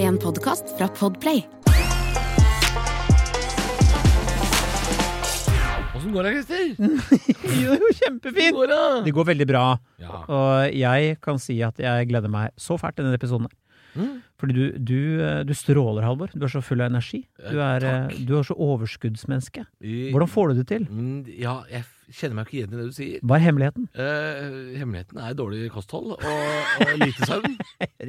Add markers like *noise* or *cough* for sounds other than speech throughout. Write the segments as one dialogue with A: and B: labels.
A: en podkast fra Podplay.
B: Åssen går det, Christer?
C: *laughs* Jo, jo, kjempefint!
B: Går det?
C: Mm. Det går veldig bra,
B: Ja.
C: og jeg kan si at jeg gleder meg så fælt til denne episoden. her.
B: Mm.
C: Fordi du, du, eh, du stråler, Halvor. Du er så full av energi. Du
B: Eh,
C: er, eh,
B: takk.
C: du er så overskuddsmenneske.
B: I-
C: Hvordan får du det til?
B: Mm, Ja, jeg f- kjenner meg ikke igjen i det du sier.
C: Hva er hemmeligheten?
B: Eh, hemmeligheten er dårlig kosthold og, og lite
C: *laughs*
B: søvn.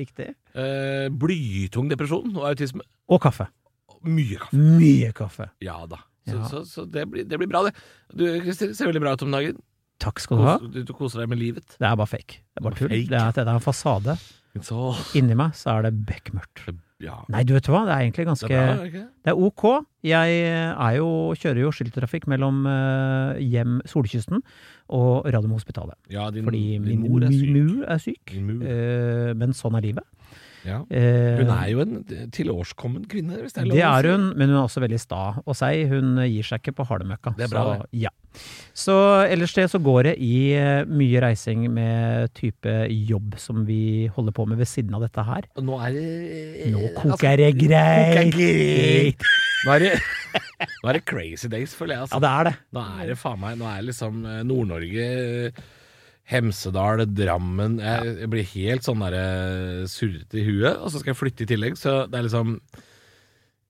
C: Riktig.
B: Eh, blytung depresjon og autisme.
C: Og kaffe.
B: Og Mye kaffe.
C: Mye kaffe.
B: Ja da. Så,
C: Ja.
B: så, så det, blir, det blir bra, det. Du Christer, ser veldig bra ut om dagen.
C: Takk skal du ha.
B: Kos, du, du koser deg med livet.
C: Det er bare fake. Det er bare tull.
B: Fake?
C: Det er, det er en fasade.
B: Så
C: Inni meg så er det bekmørkt.
B: Ja.
C: Nei, du vet hva, det er egentlig
B: Det
C: ganske
B: er bra, er det ikke det?
C: Det er ok. Jeg eh, er jo, kjører jo skiltrafikk mellom eh, hjem Solkysten og Radiumhospitalet.
B: Ja, din,
C: Fordi
B: din
C: min
B: mor er syk.
C: mu er syk.
B: Din mor.
C: eh, men sånn er livet.
B: Ja.
C: Eh,
B: Hun er jo en tilårskommen kvinne, hvis det er lov
C: det
B: å
C: er
B: si.
C: hun, men hun er også veldig sta og seig. Hun gir seg ikke på halmøkka.
B: Det er bra,
C: så, ja. så ellers det så går det i eh, mye reising med type jobb som vi holder på med ved siden av dette her.
B: Og Nå er eh, det
C: Nå koker det greit!
B: Nå er det, *laughs* nå er det crazy days, føler jeg.
C: Ja,
B: Altså.
C: det er det.
B: Nå er det faen meg Nå er det liksom eh, Nord-Norge eh, Hemsedal, Drammen Jeg, jeg blir helt sånn der eh, surrete i huet, og så skal jeg flytte i tillegg, så det er liksom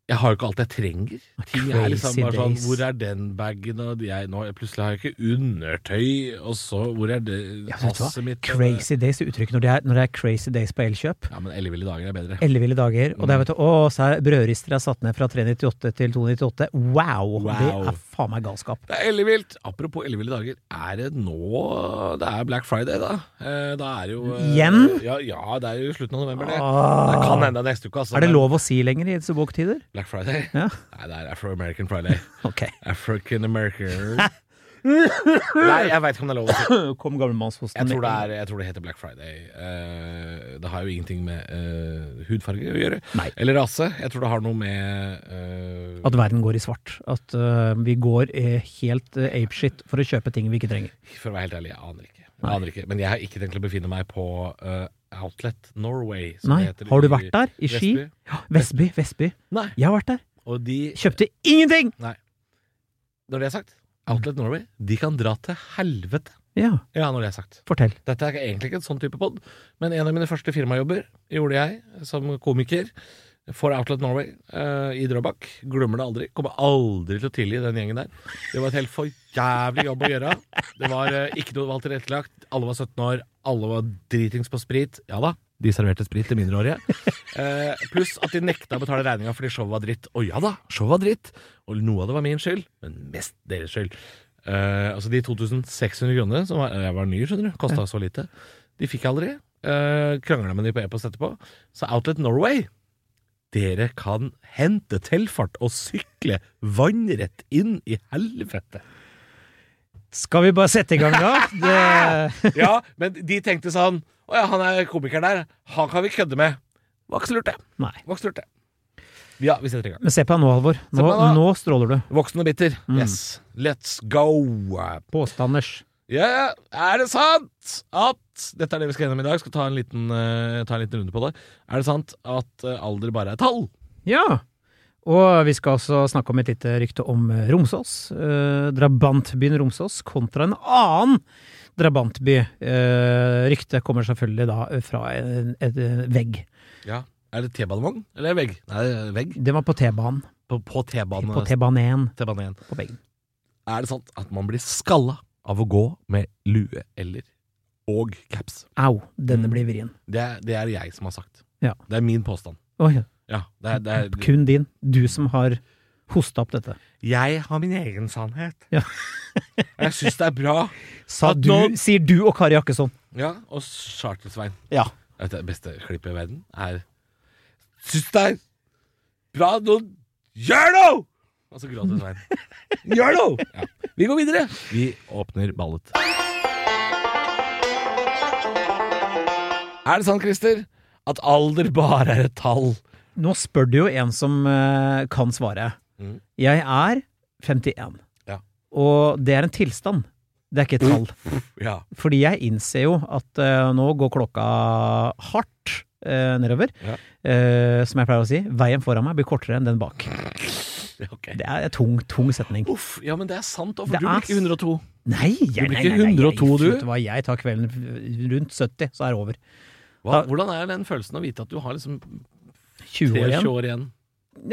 B: jeg har jo ikke alt jeg trenger. Ting er liksom
C: Crazy
B: bare sånn,
C: days.
B: Hvor er den bagen? Og jeg, nå, plutselig har jeg ikke undertøy, og så Hvor er det
C: Ja, vet du hva?
B: passet mitt? og det-
C: Crazy days er uttrykket når det er, når det er crazy days på Elkjøp.
B: Ja, men elleville dager er bedre.
C: Elleville dager. Og
B: Mm.
C: det er, vet du, å, så er brødrister er satt ned fra 398 til 298. Wow! Det
B: Wow.
C: er faen meg galskap.
B: Det er ellevilt! Apropos elleville dager, er det nå Det er Black Friday, da. Eh, Da er det jo eh,
C: Igjen?
B: Ja, ja, det er jo slutten av november, det. Det
C: Ah.
B: kan hende neste uke, altså.
C: Er det
B: men
C: lov å si lenger i disse boktider?
B: Black Friday?
C: Ja. *laughs*
B: Nei, det er Afro-American Friday. *clears throat*
C: Ok.
B: African
C: *laughs*
B: American Nei, jeg veit ikke om det er lov å si.
C: Kom gamlemannsfosten.
B: Jeg tror, det er, jeg tror det heter Black Friday. Eh, det har jo ingenting med eh, hudfarge å gjøre.
C: Nei.
B: Eller rase. Jeg tror det har noe med eh,
C: At verden går i svart. At øh, vi går eh, helt eh, apeshit for å kjøpe ting vi ikke trenger.
B: For å være helt ærlig, jeg aner ikke. Jeg aner ikke. Men jeg har ikke tenkt å befinne meg på eh, Outlet Norway. som
C: Nei,
B: det heter
C: har du
B: i
C: vært der? I Ski?
B: Vestby.
C: Ja, Vestby, Vestby.
B: Nei.
C: Jeg har vært der.
B: Og de
C: Kjøpte ingenting!
B: Når det er sagt, Outlet Norway, de kan dra til helvete.
C: Ja,
B: Ja, når det er sagt.
C: fortell.
B: Dette er egentlig ikke en sånn type pod, men en av mine første firmajobber gjorde jeg som komiker for Outlet Norway eh, i Drøbak. Glemmer det aldri. Kommer aldri til å tilgi den gjengen der. Det var et helt for jævlig jobb å gjøre. Det var eh, ikke noe det var tilrettelagt. Alle var 17 år, alle var dritings på sprit. Ja da, de serverte sprit til mindreårige. Eh, pluss at de nekta å betale regninga fordi showet var dritt. Og ja da, showet var dritt. Og noe av det var min skyld, men mest deres skyld. Eh, altså De 2600 kronene, som var, jeg var ny, skjønner du, kosta så lite, de fikk jeg aldri. Uh, Krangla med de på e-post etterpå. Så Outlet Norway dere kan hente tilfart og sykle vannrett inn i helvete.
C: Skal vi bare sette i gang, da?
B: *laughs*
C: Det...
B: Ja, men de tenkte sånn Å ja, han er komikeren der. Han kan vi kødde med. Var ikke så lurt, det.
C: Nei.
B: Var ikke så lurt, det. Ja, vi setter i gang.
C: Men se på deg nå, Halvor.
B: Se
C: Nå,
B: på meg nå.
C: nå stråler du.
B: Voksen og bitter. Yes. Let's go.
C: Påstanders.
B: Ja, er det sant at Dette er det vi skal gjennom i dag. Skal ta en liten, eh, ta en liten runde på det. Er det sant at eh, alder bare er tall?
C: Ja, og vi skal også snakke om et lite rykte om eh, Romsås. Eh, drabantbyen Romsås kontra en annen drabantby. Eh, ryktet kommer selvfølgelig da fra en, en, en vegg.
B: Ja. Er det T-banevogn eller vegg? Nei, det er vegg.
C: Det var på T-banen.
B: På, på
C: På
B: T-bane.
C: T-banen 1
B: T-bane igjen.
C: på veggen.
B: Er det sant at man blir skalla av å gå med lue eller og caps?
C: Au, denne
B: Mm.
C: blir vrien.
B: Det er, det er jeg som har sagt.
C: Ja.
B: Det er min påstand.
C: Oi,
B: Ja, det er, det er,
C: kun din. Du som har hosta opp dette.
B: jeg har min egen sannhet.
C: Ja.
B: jeg syns det er bra.
C: Sa
B: At
C: du,
B: nå-
C: sier du og Kari Jakkesson.
B: Ja, og Charter-Svein.
C: Ja.
B: Vet du, Det beste klippet i verden er Syns det er bra noen gjør noe! Og så gråter Svein. *laughs* Gjør noe! Ja. Vi går videre. Vi åpner ballet. Er det sant, Christer, at alder bare er et tall?
C: Nå spør du jo en som eh, kan svare.
B: Mm.
C: Jeg er 51.
B: Ja.
C: Og det er en tilstand. Det er ikke et tall.
B: Ja.
C: Fordi jeg innser jo at eh, nå går klokka hardt eh, nedover.
B: Ja.
C: Eh, som jeg pleier å si, veien foran meg blir kortere enn den bak.
B: Ok.
C: Det er en tung, tung setning.
B: Uff, ja, men det er sant, da, for
C: Det
B: du
C: er
B: blir ikke 102.
C: Nei, jeg,
B: blir
C: nei,
B: ikke
C: nei, nei, jeg-
B: 102 du?
C: Vet du hva, jeg tar kvelden rundt 70, så er det over.
B: Hva,
C: Da-
B: hvordan er den følelsen å vite at du har liksom
C: 20 år
B: 23
C: igjen.
B: år igjen?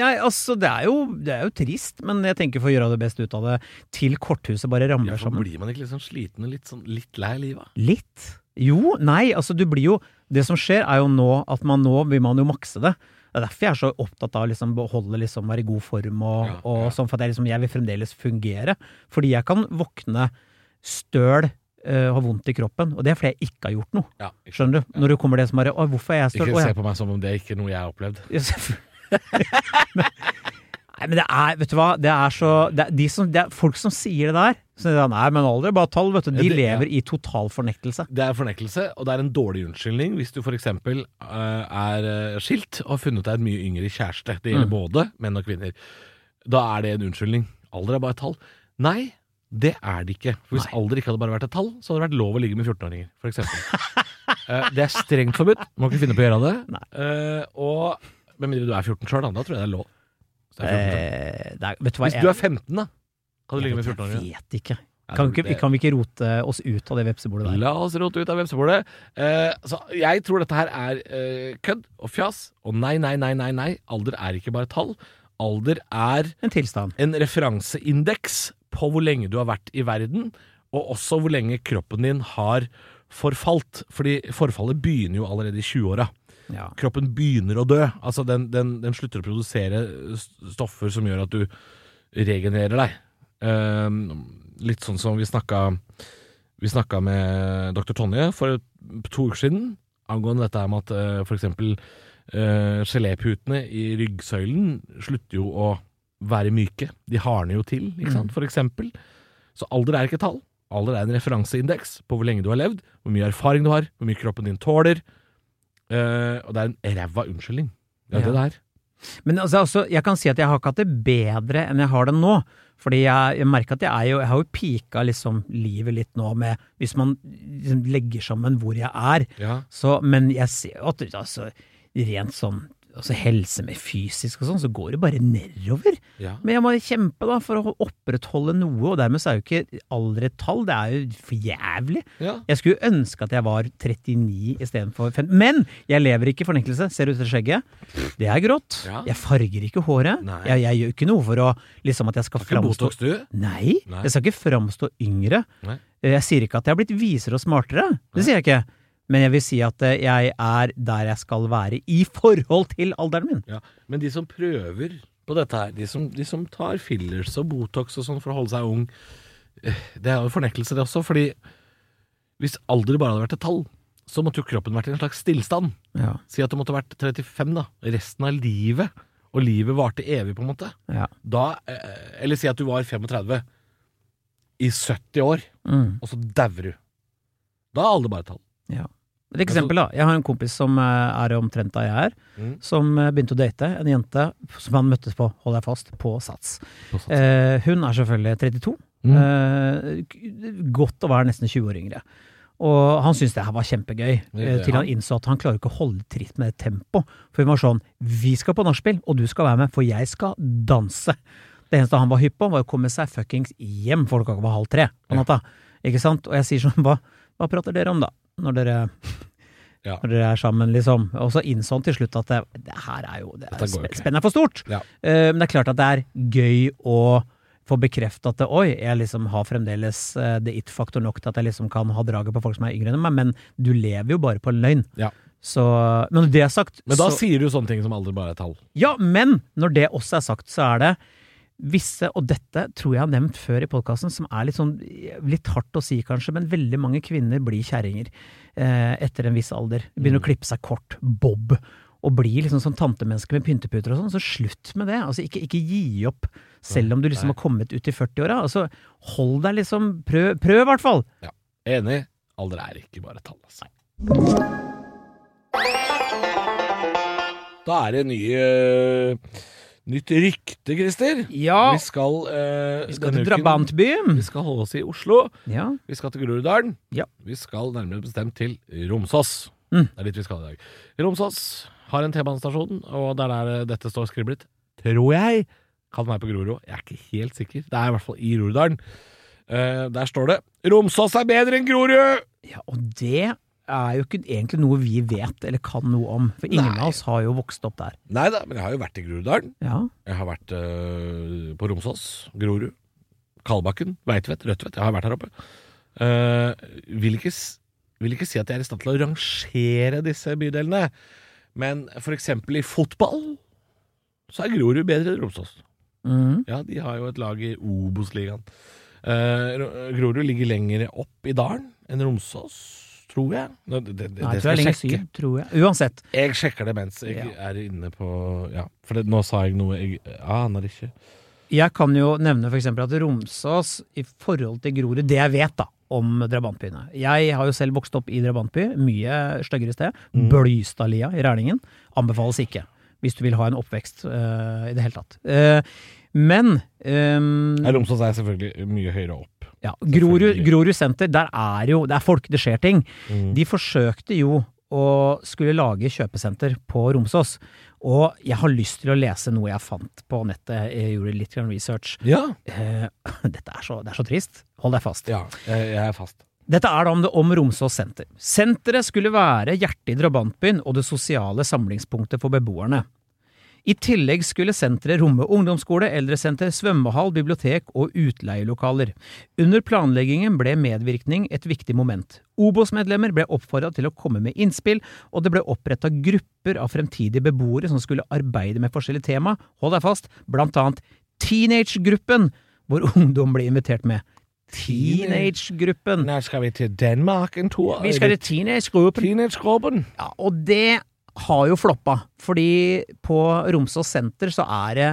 C: Nei, altså, det er, jo, det er jo trist, men jeg tenker for å gjøre det best ut av det, til korthuset bare ramler
B: Ja, for
C: sammen.
B: blir man ikke litt sånn sliten og litt, sånn, litt lei livet?
C: Litt? Jo, nei, altså du blir jo Det som skjer er jo nå at man nå vil man jo makse det. Det er derfor jeg er så opptatt av å liksom beholde liksom, være i god form og,
B: Ja,
C: og
B: ja.
C: sånn, for at jeg, liksom, jeg vil fremdeles fungere. Fordi jeg kan våkne støl, eh, ha vondt i kroppen, og det er fordi jeg ikke har gjort noe.
B: Ja, ikke,
C: Skjønner du? Når det kommer det som er Å, hvorfor er jeg støl?
B: ikke
C: Å, jeg *laughs*
B: se på meg som om det er ikke noe jeg har opplevd.
C: Ja, selvfølgelig. *laughs* Nei, men det er, vet du hva, det er så det er, de som, det er folk som sier det der. Så det er, Nei, men alder er bare tall, vet du.
B: Ja,
C: De
B: det- ja.
C: lever i total fornektelse.
B: Det er fornektelse, og det er en dårlig unnskyldning hvis du f.eks. er eh, skilt og har funnet deg en mye yngre kjæreste. Det
C: Mm.
B: gjelder både menn og kvinner. Da er det en unnskyldning. Alder er bare et tall. Nei, det er det ikke. For hvis
C: Nei.
B: alder ikke hadde bare vært et tall, så hadde det vært lov å ligge med 14-åringer, *laughs* f.eks. uh, det er strengt forbudt. Må ikke finne på å gjøre det. Eh, og Med mindre du er 14 sjøl, da. Da tror jeg det er lov. Hvis, det er 14 selv.
C: Eh, det er, vet du hva,
B: hvis du er 15, da, kan du ligge med
C: jeg, jeg
B: 14-åringer.
C: vet ikke.
B: Ja,
C: Kan,
B: det-
C: ikke. kan vi ikke rote oss ut av det vepsebordet der?
B: La oss rote ut av vepsebordet. Eh, så jeg tror dette her er eh, kødd og fjas. Og nei, nei, nei, nei, nei. Alder er ikke bare tall. Alder er
C: En tilstand.
B: en referanseindeks på hvor lenge du har vært i verden, og også hvor lenge kroppen din har forfalt. Fordi forfallet begynner jo allerede i 20-åra.
C: Ja.
B: Kroppen begynner å dø. Altså, den, den, den slutter å produsere st- stoffer som gjør at du regenererer deg. Eh, litt sånn som vi snakka vi snakka med dr. Tonje for et- to uker siden angående dette her med at eh, f.eks. Uh, geléputene i ryggsøylen slutter jo å være myke. De hardner jo til, ikke sant, for eksempel. Så alder er ikke et tall. Alder er en referanseindeks på hvor lenge du har levd, hvor mye erfaring du har, hvor mye kroppen din tåler. Eh, og det er en ræva unnskyldning. Det er
C: Ja.
B: det det er.
C: Men altså, altså, jeg kan si at jeg har ikke hatt det bedre enn jeg har det nå. Fordi jeg, jeg merker at jeg er jo Jeg har jo pika liksom livet litt nå med Hvis man liksom legger sammen hvor jeg er,
B: Ja.
C: Så, men jeg ser jo at altså, rent sånn altså helse med fysisk og sånn, så går det bare nedover.
B: Ja.
C: Men jeg må kjempe da for å opprettholde noe, og dermed så er jo ikke alder et tall, det er jo for jævlig.
B: ja.
C: Jeg skulle ønske at jeg var 39 istedenfor 50, men jeg lever ikke i fornektelse, ser ut til skjegget. Det er grått,
B: Ja.
C: jeg farger ikke håret,
B: Nei.
C: jeg, jeg gjør ikke noe for å liksom at jeg skal
B: Har ikke
C: framstå
B: Botox, du?
C: Nei,
B: Nei.
C: jeg skal ikke framstå yngre.
B: Nei.
C: Eh, Jeg sier ikke at jeg har blitt visere og smartere, det sier jeg ikke. Men jeg vil si at eh, jeg er der jeg skal være i forhold til alderen min.
B: Ja, Men de som prøver på dette her, de som, de som tar fillers og Botox og sånn for å holde seg ung, eh, det er jo fornektelse, det også. Fordi hvis alder bare hadde vært et tall, så måtte jo kroppen vært i en slags stillstand.
C: Ja,
B: Si at det måtte vært 35, da. Resten av livet. Og livet varte evig, på en måte.
C: ja.
B: Da, eh, eller si at du var 35 i 70 år,
C: Mm.
B: og så dauer du. Da er alder bare et tall. Altså-
C: Et eksempel, da. Jeg har en kompis som eh, er omtrent da jeg er,
B: Mm.
C: som eh, begynte å date en jente som han møttes på, hold deg fast, på Sats.
B: Eh,
C: Eh, hun er selvfølgelig 32.
B: Mm.
C: Eh, k- godt å være nesten 20 år yngre. Og han syntes det her var kjempegøy, eh,
B: Ja.
C: til han innså at han klarer ikke å holde tritt med det tempoet. For hun var sånn Vi skal på nachspiel, og du skal være med, for jeg skal danse. Det eneste han var hypp på, var å komme seg fuckings hjem, for klokka var halv tre
B: Ja.
C: på natta. Ikke sant? Og jeg sier sånn Hva, hva prater dere om, da? Når dere,
B: Ja.
C: når dere er sammen, liksom. Og så innså han til slutt at det, det her er jo det er
B: Dette går jo
C: sp-
B: ikke.
C: Spennet er for stort.
B: Ja.
C: Eh, men det er klart at det er gøy å få bekreftet at det, oi, jeg liksom har fremdeles eh, the it-faktor nok til at jeg liksom kan ha draget på folk som er yngre enn meg, men du lever jo bare på en løgn.
B: Ja.
C: Så, men når det er sagt,
B: Men da
C: så
B: sier du sånne ting som alder bare er et tall.
C: Ja, men når det også er sagt, så er det visse, og dette tror jeg jeg har nevnt før i podkasten, som er litt sånn litt hardt å si kanskje, men veldig mange kvinner blir kjerringer eh, etter en viss alder.
B: Mm.
C: Begynner å klippe seg kort. Bob. Og blir liksom sånn tantemenneske med pynteputer og sånn, så slutt med det. Altså ikke, ikke gi opp selv om du liksom
B: Nei.
C: har kommet ut i 40-åra. Altså hold deg liksom Prøv, prøv i hvert fall!
B: Enig. Alder er ikke bare tall, altså. Da er det nye nytt rykte, Christer.
C: Ja!
B: Vi skal, eh,
C: Vi skal
B: denne
C: til
B: uken-
C: drabantbyen!
B: Vi skal holde oss i Oslo.
C: Ja.
B: Vi skal til Groruddalen.
C: Ja.
B: Vi skal nærmere bestemt til Romsås.
C: Mm.
B: Det er dit vi skal i dag. Romsås har en T-banestasjon, og det er der dette står skriblet. Tror jeg! Kan være på Grorud. Jeg er ikke helt sikker. Det er i hvert fall i Groruddalen. Eh, der står det 'Romsås er bedre enn Grorud'!
C: Ja, og det er jo ikke egentlig noe vi vet eller kan noe om, for ingen
B: Nei.
C: av oss har jo vokst opp der.
B: Nei da, men jeg har jo vært i Groruddalen.
C: Ja,
B: Jeg har vært eh, på Romsås, Grorud, Kalbakken, Veitvet, Rødtvet. Jeg har vært her oppe. Eh, vil, ikke, s- vil ikke si at jeg er i stand til å rangere disse bydelene, men for eksempel i fotball så er Grorud bedre enn Romsås.
C: Mhm.
B: Ja, de har jo et lag i Obos-ligaen. Eh, Ro- Grorud ligger lenger opp i dalen enn Romsås, tror jeg. Nå, Det, det, det,
C: Nei,
B: det
C: tror
B: skal
C: jeg
B: jeg
C: lenger
B: sjekke.
C: syd, tror jeg. Uansett.
B: Jeg sjekker det mens jeg er inne på Ja, for det, nå sa jeg noe jeg aner ikke.
C: Jeg kan jo nevne for eksempel at Romsås i forhold til Grorud, det jeg vet da, om drabantbyene. Jeg har jo selv vokst opp i drabantby, mye styggere sted.
B: Mm.
C: Blystadlia i Rælingen anbefales ikke, hvis du vil ha en oppvekst eh, i det hele tatt. Eh, men ehm,
B: Nei, Romsås er selvfølgelig mye høyere opp.
C: ja, Grorud,
B: Selvfølgelig.
C: Grorud senter, der er jo det er folk, det skjer ting. De forsøkte jo å skulle lage kjøpesenter på Romsås. Og jeg har lyst til å lese noe jeg fant på nettet. Jeg gjorde litt grann research.
B: Ja.
C: Eh, *laughs* dette er så, det er så trist. Hold deg fast.
B: ja. Jeg, jeg er fast.
C: Dette er da om, det, om Romsås senter. Senteret skulle være hjertet i drabantbyen og det sosiale samlingspunktet for beboerne. I tillegg skulle senteret romme ungdomsskole, eldresenter, svømmehall, bibliotek og utleielokaler. Under planleggingen ble medvirkning et viktig moment. Obos-medlemmer ble oppfordra til å komme med innspill, og det ble oppretta grupper av fremtidige beboere som skulle arbeide med forskjellige tema, hold deg fast, blant annet Teenage-gruppen, hvor ungdom ble invitert med. Teenage-gruppen.
B: Nå skal vi til Danmark en tur.
C: Mm. Vi skal til teenage-gruppen.
B: Teenage-gruppen.
C: Ja, og det har jo floppa, fordi på Romsås senter så er det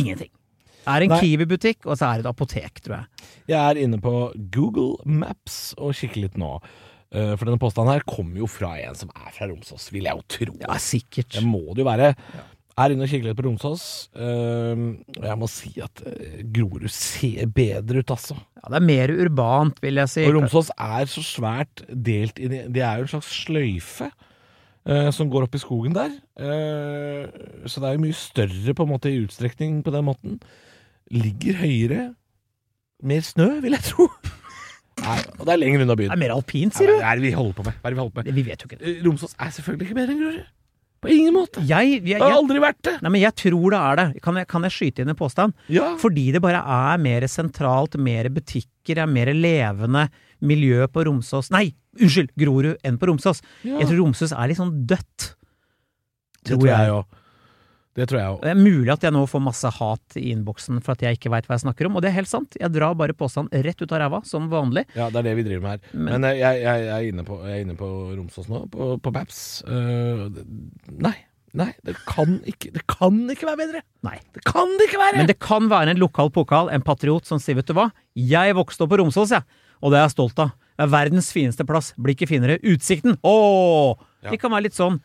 C: ingenting. Det er en
B: Nei.
C: Kiwi-butikk, og så er det et apotek, tror jeg.
B: Jeg er inne på Google Maps og kikker litt nå. Eh, For denne påstanden her kommer jo fra en som er fra Romsås, vil jeg jo tro.
C: Ja, sikkert.
B: Det må det jo være. Er inne og kikker litt på Romsås. eh, Og jeg må si at eh, Grorud ser bedre ut, altså.
C: Ja, det er mer urbant, vil jeg si.
B: Og Romsås er så svært delt inn i Det er jo en slags sløyfe eh, som går opp i skogen der. Eh, så det er jo mye større på en måte i utstrekning på den måten. Ligger høyere. Mer snø, vil jeg *laughs* tro. Nei, og det er lenger unna
C: Det
B: byen.
C: er mer alpint,
B: Hva
C: sier du?
B: er det vi holder på med? Hva er det vi holder på med?
C: Vi vet jo ikke det.
B: Eh, Romsås er selvfølgelig ikke bedre enn Grorud. På ingen måte.
C: Jeg, jeg,
B: Det har
C: jeg,
B: aldri vært det.
C: nei, men jeg tror det er det. Kan jeg, kan jeg skyte inn en påstand?
B: Ja.
C: Fordi det bare er mer sentralt, mer butikker, er mer levende miljø på Romsås Nei, unnskyld! Grorud enn på Romsås.
B: ja.
C: Jeg tror Romsås er litt sånn dødt.
B: det tror jeg òg. Det tror jeg òg.
C: Det er mulig at jeg nå får masse hat i innboksen for at jeg ikke veit hva jeg snakker om, og det er helt sant. Jeg drar bare påstand rett ut av ræva, som vanlig.
B: Ja, det er det vi driver med her. Men,
C: Men-
B: eh, jeg, jeg, jeg, er inne på, jeg er inne på Romsås nå, på, på Babs. Eh, nei. Nei, det kan ikke Det kan ikke være bedre!
C: Nei.
B: Det kan det ikke være!
C: Men det kan være en lokal pokal, en patriot, som sier vet du hva, jeg vokste opp på Romsås, jeg, og det er jeg stolt av. Det er verdens fineste plass, blir ikke finere. Utsikten! Ååå!
B: Ja.
C: De kan være litt sånn.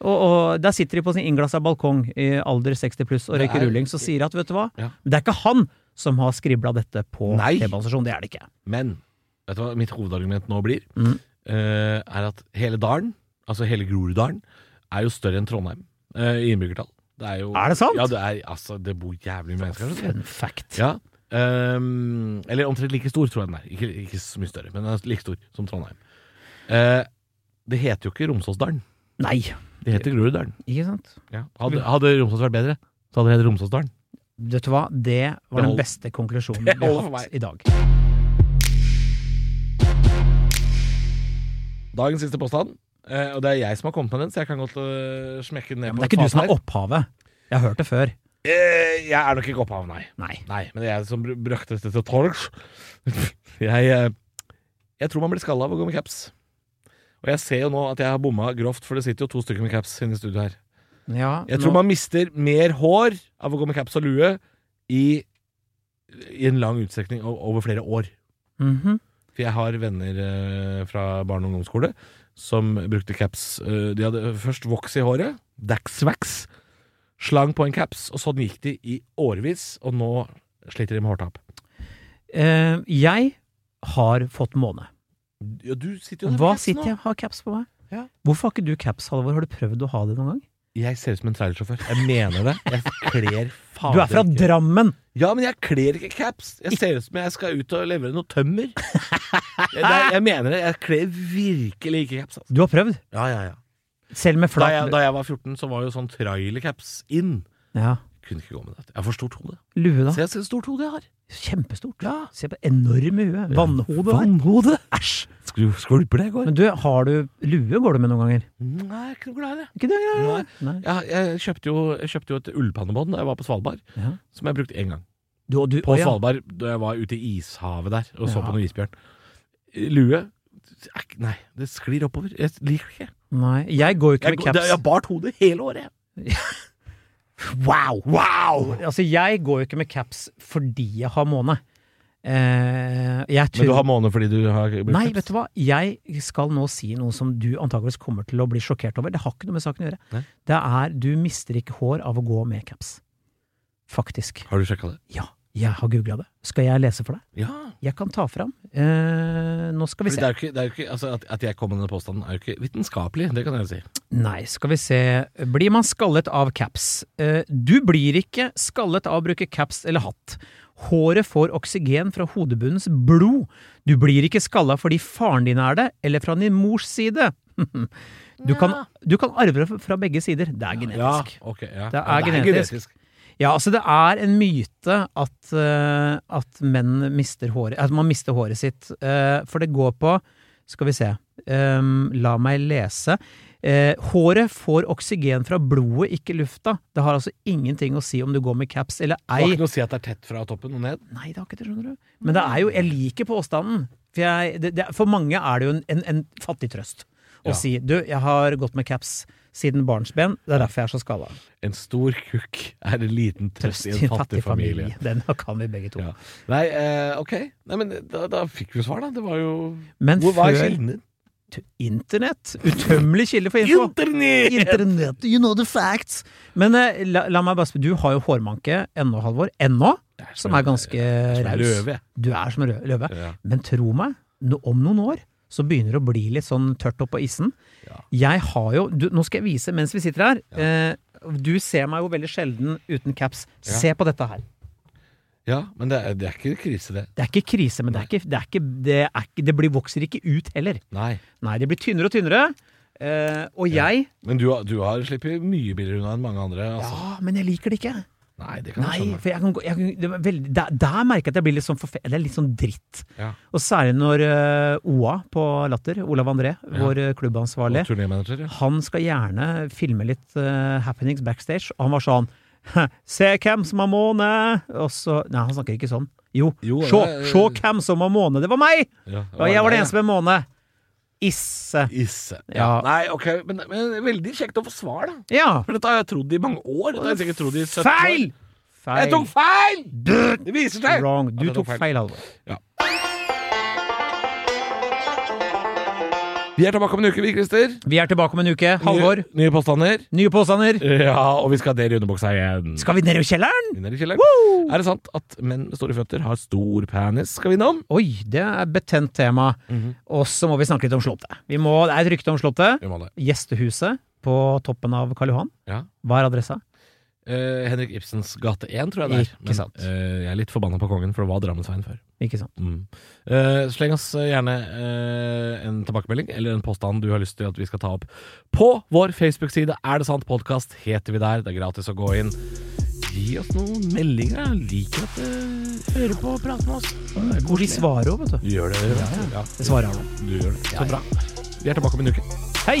C: Og, og der sitter de på sin innglassa balkong, i alder 60 pluss, og
B: Det
C: røyker
B: er-
C: rulling, så sier de at vet du hva,
B: Ja.
C: det er ikke han som har skribla dette på
B: Nei.
C: T-banestasjonen, det er det ikke.
B: Men vet du hva mitt hovedargument nå blir?
C: Mm.
B: Eh, er at hele dalen, altså hele Groruddalen, er jo større enn Trondheim eh, i innbyggertall. Det er, jo,
C: Er det sant?
B: Ja, det, er, altså, det bor jævlig mye mennesker her.
C: Fun fact.
B: Ja. ehm, eller omtrent like stor, tror jeg den er. Ikke, ikke så mye større, men den er like stor som Trondheim. Eh, det heter jo ikke Romsåsdalen.
C: Nei,
B: Det heter Groruddalen.
C: ikke sant?
B: Hadde, hadde Romsås vært bedre, så hadde det hett Romsåsdalen.
C: Vet du hva, det var
B: Det
C: den
B: hold-
C: beste konklusjonen vi
B: Det
C: har
B: holder for
C: hatt
B: meg.
C: i dag.
B: Dagens siste påstand, eh, og det er jeg som har kommet med den, så jeg kan godt øh, smekke den ned
C: Ja, men
B: på
C: det er ikke
B: et
C: du som
B: fat
C: er
B: her.
C: opphavet. Jeg har hørt det før.
B: Eh, jeg er nok ikke opphav, nei.
C: Nei.
B: Nei, men det er jeg som br- brakte dette til torgs. *laughs* jeg, eh, jeg tror man blir skalla av å gå med caps. Og jeg ser jo nå at jeg har bomma grovt, for det sitter jo to stykker med caps inne i studio her.
C: Ja,
B: Jeg tror
C: nå-
B: man mister mer hår av å gå med caps og lue i, i en lang utstrekning o- over flere år.
C: Mhm.
B: For jeg har venner eh, fra barne- og ungdomsskole som brukte caps. Eh, de hadde først voks i håret, Daxvax, slang på en caps, og sånn gikk de i årevis, og nå sliter de med hårtap.
C: Eh, Jeg har fått måne.
B: Ja, du sitter jo der med
C: Hva
B: capsen
C: sitter
B: nå.
C: jeg har caps på meg?
B: Ja.
C: Hvorfor har ikke du caps, Halvor? Har du prøvd å ha det noen gang?
B: Jeg ser ut som en trailersjåfør. Jeg mener det. Jeg kler fader
C: Du er fra
B: ikke
C: Drammen!
B: Ja, men jeg kler ikke caps. Jeg ser ut som jeg skal ut og levere noe tømmer. Jeg, nei, jeg mener det. Jeg kler virkelig ikke caps. Altså.
C: Du har prøvd?
B: Ja, ja, ja.
C: Selv med
B: Da
C: flat
B: jeg, da jeg var 14, så var jo sånn trailercaps inn.
C: Ja.
B: Kunne ikke gå med det. Jeg har for stort hode.
C: Lue, da.
B: Se så stort hode jeg har.
C: Kjempestort. Se på enorme hue. Vannhode.
B: Vannhode. Æsj. Skru- Skvulper det i går.
C: Men du, har du lue går du med noen ganger?
B: Nei, jeg er ikke noe glad i det.
C: Ikke det?
B: Nei.
C: Nei.
B: Jeg, jeg, kjøpte jo, jeg kjøpte jo et ullpannebånd da jeg var på Svalbard,
C: Ja.
B: som jeg brukte én gang.
C: Du, og du,
B: På
C: å, ja.
B: Svalbard, da jeg var ute i ishavet der og så
C: Ja.
B: på noe isbjørn. Eh, Lue er ikke- Nei, det sklir oppover. Jeg liker det ikke.
C: Nei. Jeg går jo ikke
B: Jeg,
C: med
B: går- det-
C: caps.
B: jeg har bart hodet hele året. jeg.
C: Wow!
B: *laughs* Wow!
C: Altså, jeg går jo ikke med caps fordi jeg har måne. Eh, jeg
B: Men
C: tror
B: du har måne fordi du har brukt
C: Nei,
B: caps?
C: vet du hva? Jeg skal nå si noe som du antakeligvis kommer til å bli sjokkert over. Det har ikke noe med saken å gjøre.
B: Nei.
C: Det er du mister ikke hår av å gå med caps. Faktisk.
B: Har du sjekka det?
C: Ja, jeg har googla det. Skal jeg lese for deg?
B: Ja.
C: Jeg kan ta fram. Eh, nå skal vi
B: Fordi
C: se.
B: det er jo ikke, det er jo ikke altså at, at jeg kom med denne påstanden, er jo ikke vitenskapelig. Det kan jeg jo si.
C: Nei, skal vi se. Blir man skallet av caps? Eh, du blir ikke skallet av å bruke caps eller hatt. Håret får oksygen fra hodebunnens blod. Du blir ikke skalla fordi faren din er det, eller fra din mors side. *laughs* Du kan, du kan arve det fra begge sider. Det er genetisk.
B: Ja, ok, ja.
C: Det er
B: Ja,
C: genetisk. Ja, altså det er en myte at, eh, at menn mister håret At man mister håret sitt. Eh, for det går på Skal vi se. ehm, la meg lese. Eh, håret får oksygen fra blodet, ikke lufta. Det har altså ingenting å si om du går med caps eller
B: Det har
C: ei.
B: ikke noe å si at det er tett fra toppen og ned.
C: Nei, det har ikke det, skjønner du. Men det er jo Jeg liker påstanden. For, jeg, det, det, for mange er det jo en, en, en fattig trøst å
B: Ja.
C: si du, jeg har gått med caps siden barnsben, det er derfor jeg er så skalla.
B: En stor kukk er en liten trøst i en fattig familie.
C: Den kan vi begge to.
B: Ja. Nei, eh, ok. Nei, men da, da fikk vi jo svar, da. Det var jo
C: Men
B: Hvor var
C: før-
B: kilden din?
C: Tu- Internett. Utømmelig kilde for info.
B: Internett!
C: Internett, you know the facts! Men eh, la, la meg bare spørre, du har jo hårmanke ennå, Halvor. Ennå? Som er ganske raus.
B: Løve.
C: Du er som en rø- løve.
B: Ja.
C: Men tro meg, no- om noen år så begynner det å bli litt sånn tørt oppå isen. Jeg har jo du, Nå skal jeg vise mens vi sitter her. Eh, du ser meg jo veldig sjelden uten caps.
B: Ja.
C: Se på dette her.
B: ja, men det er, det er ikke krise, det.
C: Det er ikke krise, men det, er ikke, det, er ikke, det, er ikke, det blir, vokser ikke ut heller.
B: Nei.
C: Nei, det blir tynnere og tynnere. Eh, og
B: Ja.
C: jeg
B: Men du, har- du har sluppet mye billigere unna enn mange andre. Altså.
C: Ja, men jeg liker det ikke.
B: Nei, det kan jeg
C: Nei,
B: skjønne.
C: for jeg kan, gå- jeg, kan- det var veldig, der, der merker jeg at jeg blir litt sånn forfe... Det er litt sånn dritt.
B: Ja.
C: Og særlig når eh, OA på Latter, Olav André, vår eh, klubbansvarlig,
B: Og turnémanager, ja.
C: han skal gjerne filme litt eh, happenings backstage, og han var sånn «Hæ, Se hvem som har måne! Og så Nei, han snakker ikke sånn. Jo,
B: Jo,
C: sjå,
B: det er-
C: sjå hvem som har måne! Det var meg!
B: ja.
C: Og jeg var
B: deg, ja.
C: den eneste med måne. Isse.
B: Isse.
C: Ja.
B: Nei, ok, men, men veldig kjekt å få svar, da.
C: Ja.
B: For dette har jeg trodd i mange år. Dette har jeg sikkert trodd i 17 år.
C: Feil! Feil.
B: Jeg tok feil! Det viser seg!
C: Wrong.
B: At
C: Du
B: jeg
C: tok feil, Halvor.
B: Vi er tilbake om en uke, vi, Christer.
C: Vi er tilbake om en uke. Halvor,
B: Nye, nye påstander.
C: nye påstander.
B: Ja, og vi skal dele underbuksa igjen.
C: Skal vi ned i kjelleren?
B: Inn i kjelleren. Er det sant at menn med store føtter har stor penis? Skal vi innom?
C: Oi, det er betent tema.
B: Mhm.
C: Og så må vi snakke litt om Slottet. Vi må, det er et rykte om Slottet.
B: Vi må det.
C: Gjestehuset på toppen av Karl Johan.
B: Ja.
C: Hva er adressa?
B: Eh, Henrik Ibsens gate 1, tror jeg det er.
C: Ikke sant.
B: eh, jeg er litt forbanna på kongen, for det var Drammensveien før.
C: Ikke sant.
B: Mm. Eh, sleng oss gjerne eh, en tilbakemelding eller en påstand du har lyst til at vi skal ta opp på vår Facebook-side. Er det sant podkast heter vi der. Det er gratis å gå inn. Gi oss noen meldinger. da. Liker at du hører på og prater med oss. Det er
C: Hvor de
B: koselig.
C: svarer òg, vet du.
B: Du gjør det. vet du. Ja,
C: Det svarer han om.
B: du gjør det.
C: Ja,
B: Så bra. Vi er tilbake om en uke.
C: Hei!